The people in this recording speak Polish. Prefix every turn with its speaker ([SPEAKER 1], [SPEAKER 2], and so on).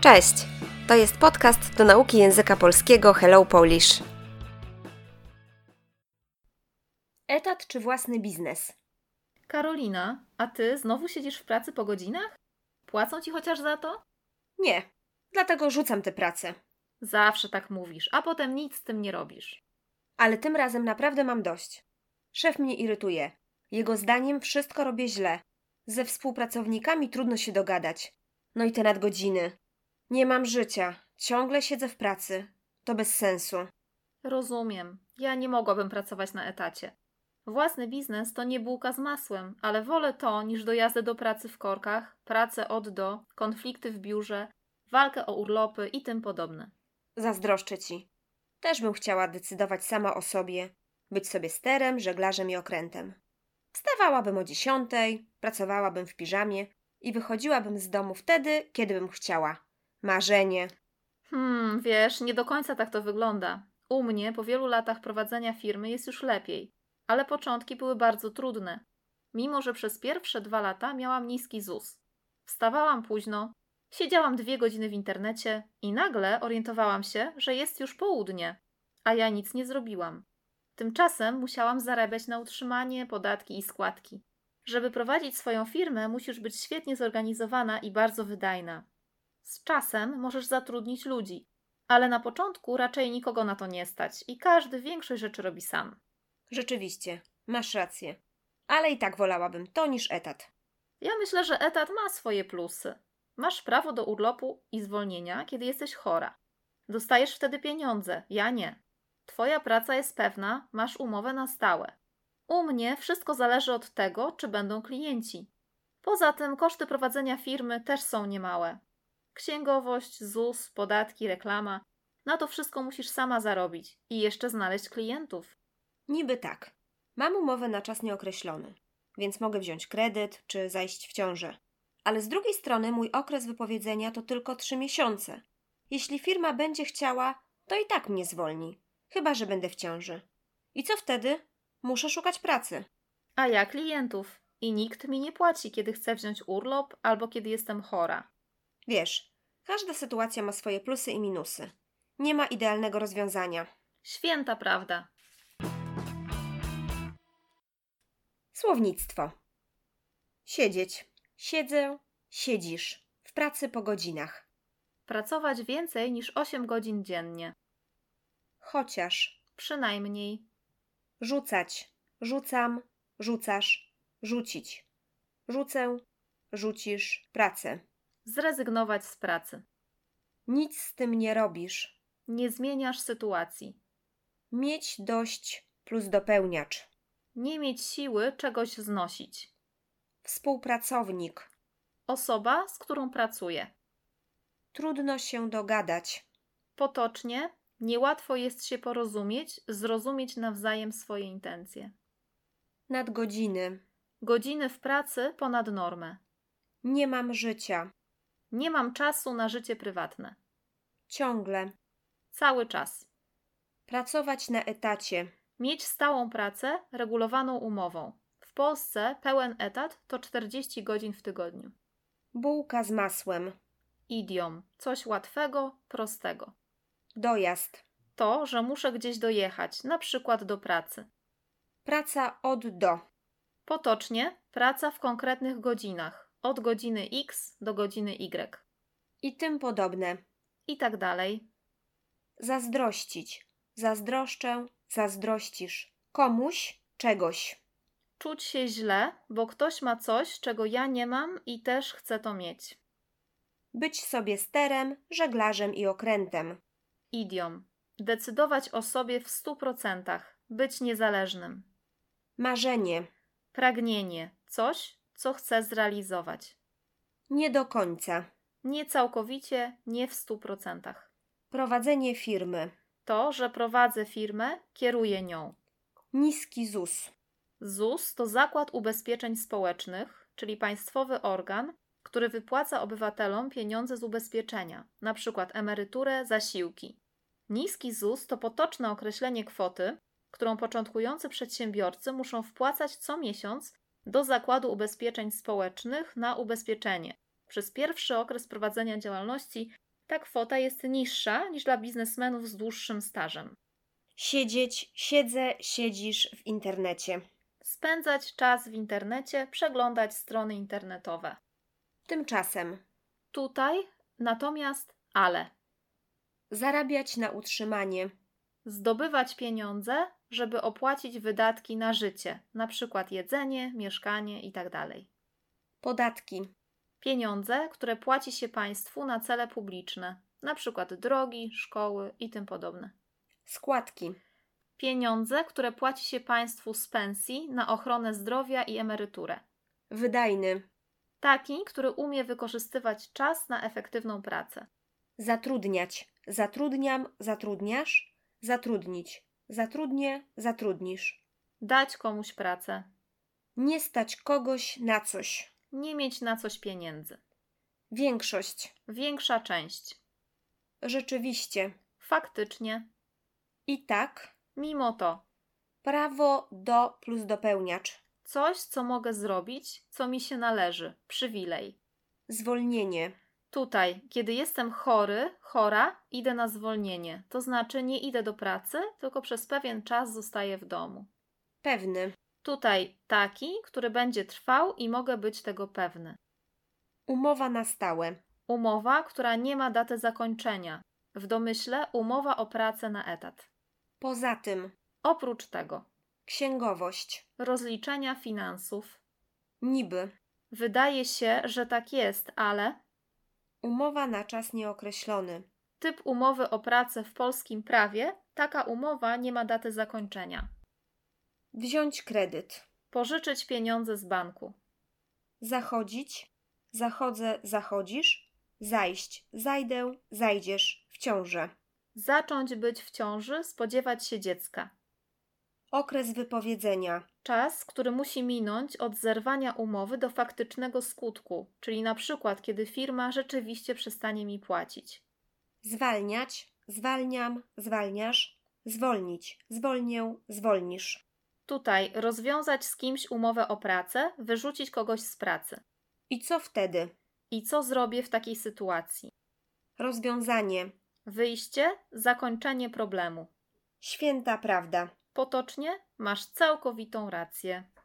[SPEAKER 1] Cześć! To jest podcast do nauki języka polskiego Hello Polish. Etat czy własny biznes?
[SPEAKER 2] Karolina, a ty znowu siedzisz w pracy po godzinach? Płacą ci chociaż za to?
[SPEAKER 1] Nie, dlatego rzucam tę pracę.
[SPEAKER 2] Zawsze tak mówisz, a potem nic z tym nie robisz.
[SPEAKER 1] Ale tym razem naprawdę mam dość. Szef mnie irytuje. Jego zdaniem wszystko robię źle. Ze współpracownikami trudno się dogadać. No i te nadgodziny. Nie mam życia. Ciągle siedzę w pracy. To bez sensu.
[SPEAKER 2] Rozumiem. Ja nie mogłabym pracować na etacie. Własny biznes to nie bułka z masłem, ale wolę to niż dojazdy do pracy w korkach, pracę od do, konflikty w biurze, walkę o urlopy i tym podobne.
[SPEAKER 1] Zazdroszczę ci. Też bym chciała decydować sama o sobie, być sobie sterem, żeglarzem i okrętem. Wstawałabym o dziesiątej, pracowałabym w piżamie i wychodziłabym z domu wtedy, kiedy bym chciała. Marzenie.
[SPEAKER 2] Hmm, wiesz, nie do końca tak to wygląda. U mnie po wielu latach prowadzenia firmy jest już lepiej, ale początki były bardzo trudne. Mimo, że przez pierwsze dwa lata miałam niski ZUS. Wstawałam późno, siedziałam dwie godziny w internecie i nagle orientowałam się, że jest już południe, a ja nic nie zrobiłam. Tymczasem musiałam zarabiać na utrzymanie, podatki i składki. Żeby prowadzić swoją firmę, musisz być świetnie zorganizowana i bardzo wydajna. Z czasem możesz zatrudnić ludzi, ale na początku raczej nikogo na to nie stać i każdy większość rzeczy robi sam.
[SPEAKER 1] Rzeczywiście, masz rację. Ale i tak wolałabym to niż etat.
[SPEAKER 2] Ja myślę, że etat ma swoje plusy. Masz prawo do urlopu i zwolnienia, kiedy jesteś chora. Dostajesz wtedy pieniądze, ja nie. Twoja praca jest pewna, masz umowę na stałe. U mnie wszystko zależy od tego, czy będą klienci. Poza tym koszty prowadzenia firmy też są niemałe. Księgowość, ZUS, podatki, reklama. Na to wszystko musisz sama zarobić i jeszcze znaleźć klientów.
[SPEAKER 1] Niby tak. Mam umowę na czas nieokreślony, więc mogę wziąć kredyt czy zajść w ciążę. Ale z drugiej strony mój okres wypowiedzenia to tylko trzy miesiące. Jeśli firma będzie chciała, to i tak mnie zwolni, chyba że będę w ciąży. I co wtedy? Muszę szukać pracy.
[SPEAKER 2] A ja klientów. I nikt mi nie płaci, kiedy chcę wziąć urlop albo kiedy jestem chora.
[SPEAKER 1] Wiesz, każda sytuacja ma swoje plusy i minusy. Nie ma idealnego rozwiązania.
[SPEAKER 2] Święta prawda.
[SPEAKER 1] Słownictwo. Siedzieć. Siedzę, siedzisz. W pracy po godzinach.
[SPEAKER 2] Pracować więcej niż 8 godzin dziennie.
[SPEAKER 1] Chociaż.
[SPEAKER 2] Przynajmniej.
[SPEAKER 1] Rzucać. Rzucam, rzucasz, rzucić. Rzucę, rzucisz pracę.
[SPEAKER 2] Zrezygnować z pracy.
[SPEAKER 1] Nic z tym nie robisz.
[SPEAKER 2] Nie zmieniasz sytuacji.
[SPEAKER 1] Mieć dość plus dopełniacz.
[SPEAKER 2] Nie mieć siły czegoś znosić.
[SPEAKER 1] Współpracownik.
[SPEAKER 2] Osoba, z którą pracuję.
[SPEAKER 1] Trudno się dogadać.
[SPEAKER 2] Potocznie, niełatwo jest się porozumieć, zrozumieć nawzajem swoje intencje.
[SPEAKER 1] Nadgodziny.
[SPEAKER 2] Godziny w pracy ponad normę.
[SPEAKER 1] Nie mam życia.
[SPEAKER 2] Nie mam czasu na życie prywatne.
[SPEAKER 1] Ciągle.
[SPEAKER 2] Cały czas.
[SPEAKER 1] Pracować na etacie.
[SPEAKER 2] Mieć stałą pracę regulowaną umową. W Polsce pełen etat to 40 godzin w tygodniu.
[SPEAKER 1] Bułka z masłem.
[SPEAKER 2] Idiom. Coś łatwego, prostego.
[SPEAKER 1] Dojazd.
[SPEAKER 2] To, że muszę gdzieś dojechać, na przykład do pracy.
[SPEAKER 1] Praca od do.
[SPEAKER 2] Potocznie praca w konkretnych godzinach, od godziny X do godziny Y.
[SPEAKER 1] I tym podobne.
[SPEAKER 2] I tak dalej.
[SPEAKER 1] Zazdrościć. Zazdroszczę, zazdrościsz. Komuś czegoś.
[SPEAKER 2] Czuć się źle, bo ktoś ma coś, czego ja nie mam i też chcę to mieć.
[SPEAKER 1] Być sobie sterem, żeglarzem i okrętem.
[SPEAKER 2] Idiom. Decydować o sobie w 100%, być niezależnym.
[SPEAKER 1] Marzenie.
[SPEAKER 2] Pragnienie coś, co chcę zrealizować.
[SPEAKER 1] Nie do końca.
[SPEAKER 2] Nie całkowicie, nie w 100%.
[SPEAKER 1] Prowadzenie firmy.
[SPEAKER 2] To, że prowadzę firmę, kieruję nią.
[SPEAKER 1] Niski ZUS.
[SPEAKER 2] ZUS to Zakład Ubezpieczeń Społecznych, czyli państwowy organ, który wypłaca obywatelom pieniądze z ubezpieczenia, np. emeryturę, zasiłki. Niski ZUS to potoczne określenie kwoty, którą początkujący przedsiębiorcy muszą wpłacać co miesiąc do Zakładu Ubezpieczeń Społecznych na ubezpieczenie przez pierwszy okres prowadzenia działalności Ta kwota jest niższa niż dla biznesmenów z dłuższym stażem.
[SPEAKER 1] Siedzieć, siedzę, siedzisz w internecie.
[SPEAKER 2] Spędzać czas w internecie, przeglądać strony internetowe.
[SPEAKER 1] Tymczasem
[SPEAKER 2] Tutaj natomiast ale.
[SPEAKER 1] zarabiać na utrzymanie,
[SPEAKER 2] Zdobywać pieniądze, żeby opłacić wydatki na życie, na przykład jedzenie, mieszkanie itd.
[SPEAKER 1] podatki,
[SPEAKER 2] Pieniądze, które płaci się państwu na cele publiczne, na przykład drogi, szkoły i tym podobne.
[SPEAKER 1] składki,
[SPEAKER 2] Pieniądze, które płaci się państwu z pensji na ochronę zdrowia i emeryturę.
[SPEAKER 1] wydajny,
[SPEAKER 2] Taki, który umie wykorzystywać czas na efektywną pracę.
[SPEAKER 1] zatrudniać, zatrudniam, zatrudniasz, zatrudnić, zatrudnię, zatrudnisz.
[SPEAKER 2] Dać komuś pracę.
[SPEAKER 1] Nie stać kogoś na coś.
[SPEAKER 2] Nie mieć na coś pieniędzy.
[SPEAKER 1] Większość,
[SPEAKER 2] Większa część.
[SPEAKER 1] rzeczywiście,
[SPEAKER 2] Faktycznie.
[SPEAKER 1] i tak,
[SPEAKER 2] Mimo to.
[SPEAKER 1] prawo do plus dopełniacz,
[SPEAKER 2] Coś, co mogę zrobić, co mi się należy. Przywilej.
[SPEAKER 1] zwolnienie,
[SPEAKER 2] Tutaj, kiedy jestem chory, chora, idę na zwolnienie. To znaczy nie idę do pracy, tylko przez pewien czas zostaję w domu.
[SPEAKER 1] pewny,
[SPEAKER 2] Tutaj taki, który będzie trwał i mogę być tego pewny.
[SPEAKER 1] umowa na stałe,
[SPEAKER 2] Umowa, która nie ma daty zakończenia. W domyśle umowa o pracę na etat.
[SPEAKER 1] poza tym,
[SPEAKER 2] Oprócz tego
[SPEAKER 1] księgowość,
[SPEAKER 2] rozliczenia finansów.
[SPEAKER 1] niby,
[SPEAKER 2] Wydaje się, że tak jest, ale
[SPEAKER 1] umowa na czas nieokreślony.
[SPEAKER 2] typ umowy o pracę w polskim prawie taka umowa nie ma daty zakończenia.
[SPEAKER 1] Wziąć kredyt.
[SPEAKER 2] Pożyczyć pieniądze z banku.
[SPEAKER 1] Zachodzić. Zachodzę, zachodzisz. Zajść, zajdę, zajdziesz. W ciążę.
[SPEAKER 2] Zacząć być w ciąży, spodziewać się dziecka.
[SPEAKER 1] Okres wypowiedzenia.
[SPEAKER 2] Czas, który musi minąć od zerwania umowy do faktycznego skutku, czyli na przykład kiedy firma rzeczywiście przestanie mi płacić.
[SPEAKER 1] Zwalniać. Zwalniam, zwalniasz. Zwolnić. Zwolnię, zwolnisz.
[SPEAKER 2] Tutaj rozwiązać z kimś umowę o pracę, wyrzucić kogoś z pracy.
[SPEAKER 1] I co wtedy?
[SPEAKER 2] I co zrobię w takiej sytuacji?
[SPEAKER 1] Rozwiązanie.
[SPEAKER 2] Wyjście, zakończenie problemu.
[SPEAKER 1] Święta prawda.
[SPEAKER 2] Potocznie masz całkowitą rację.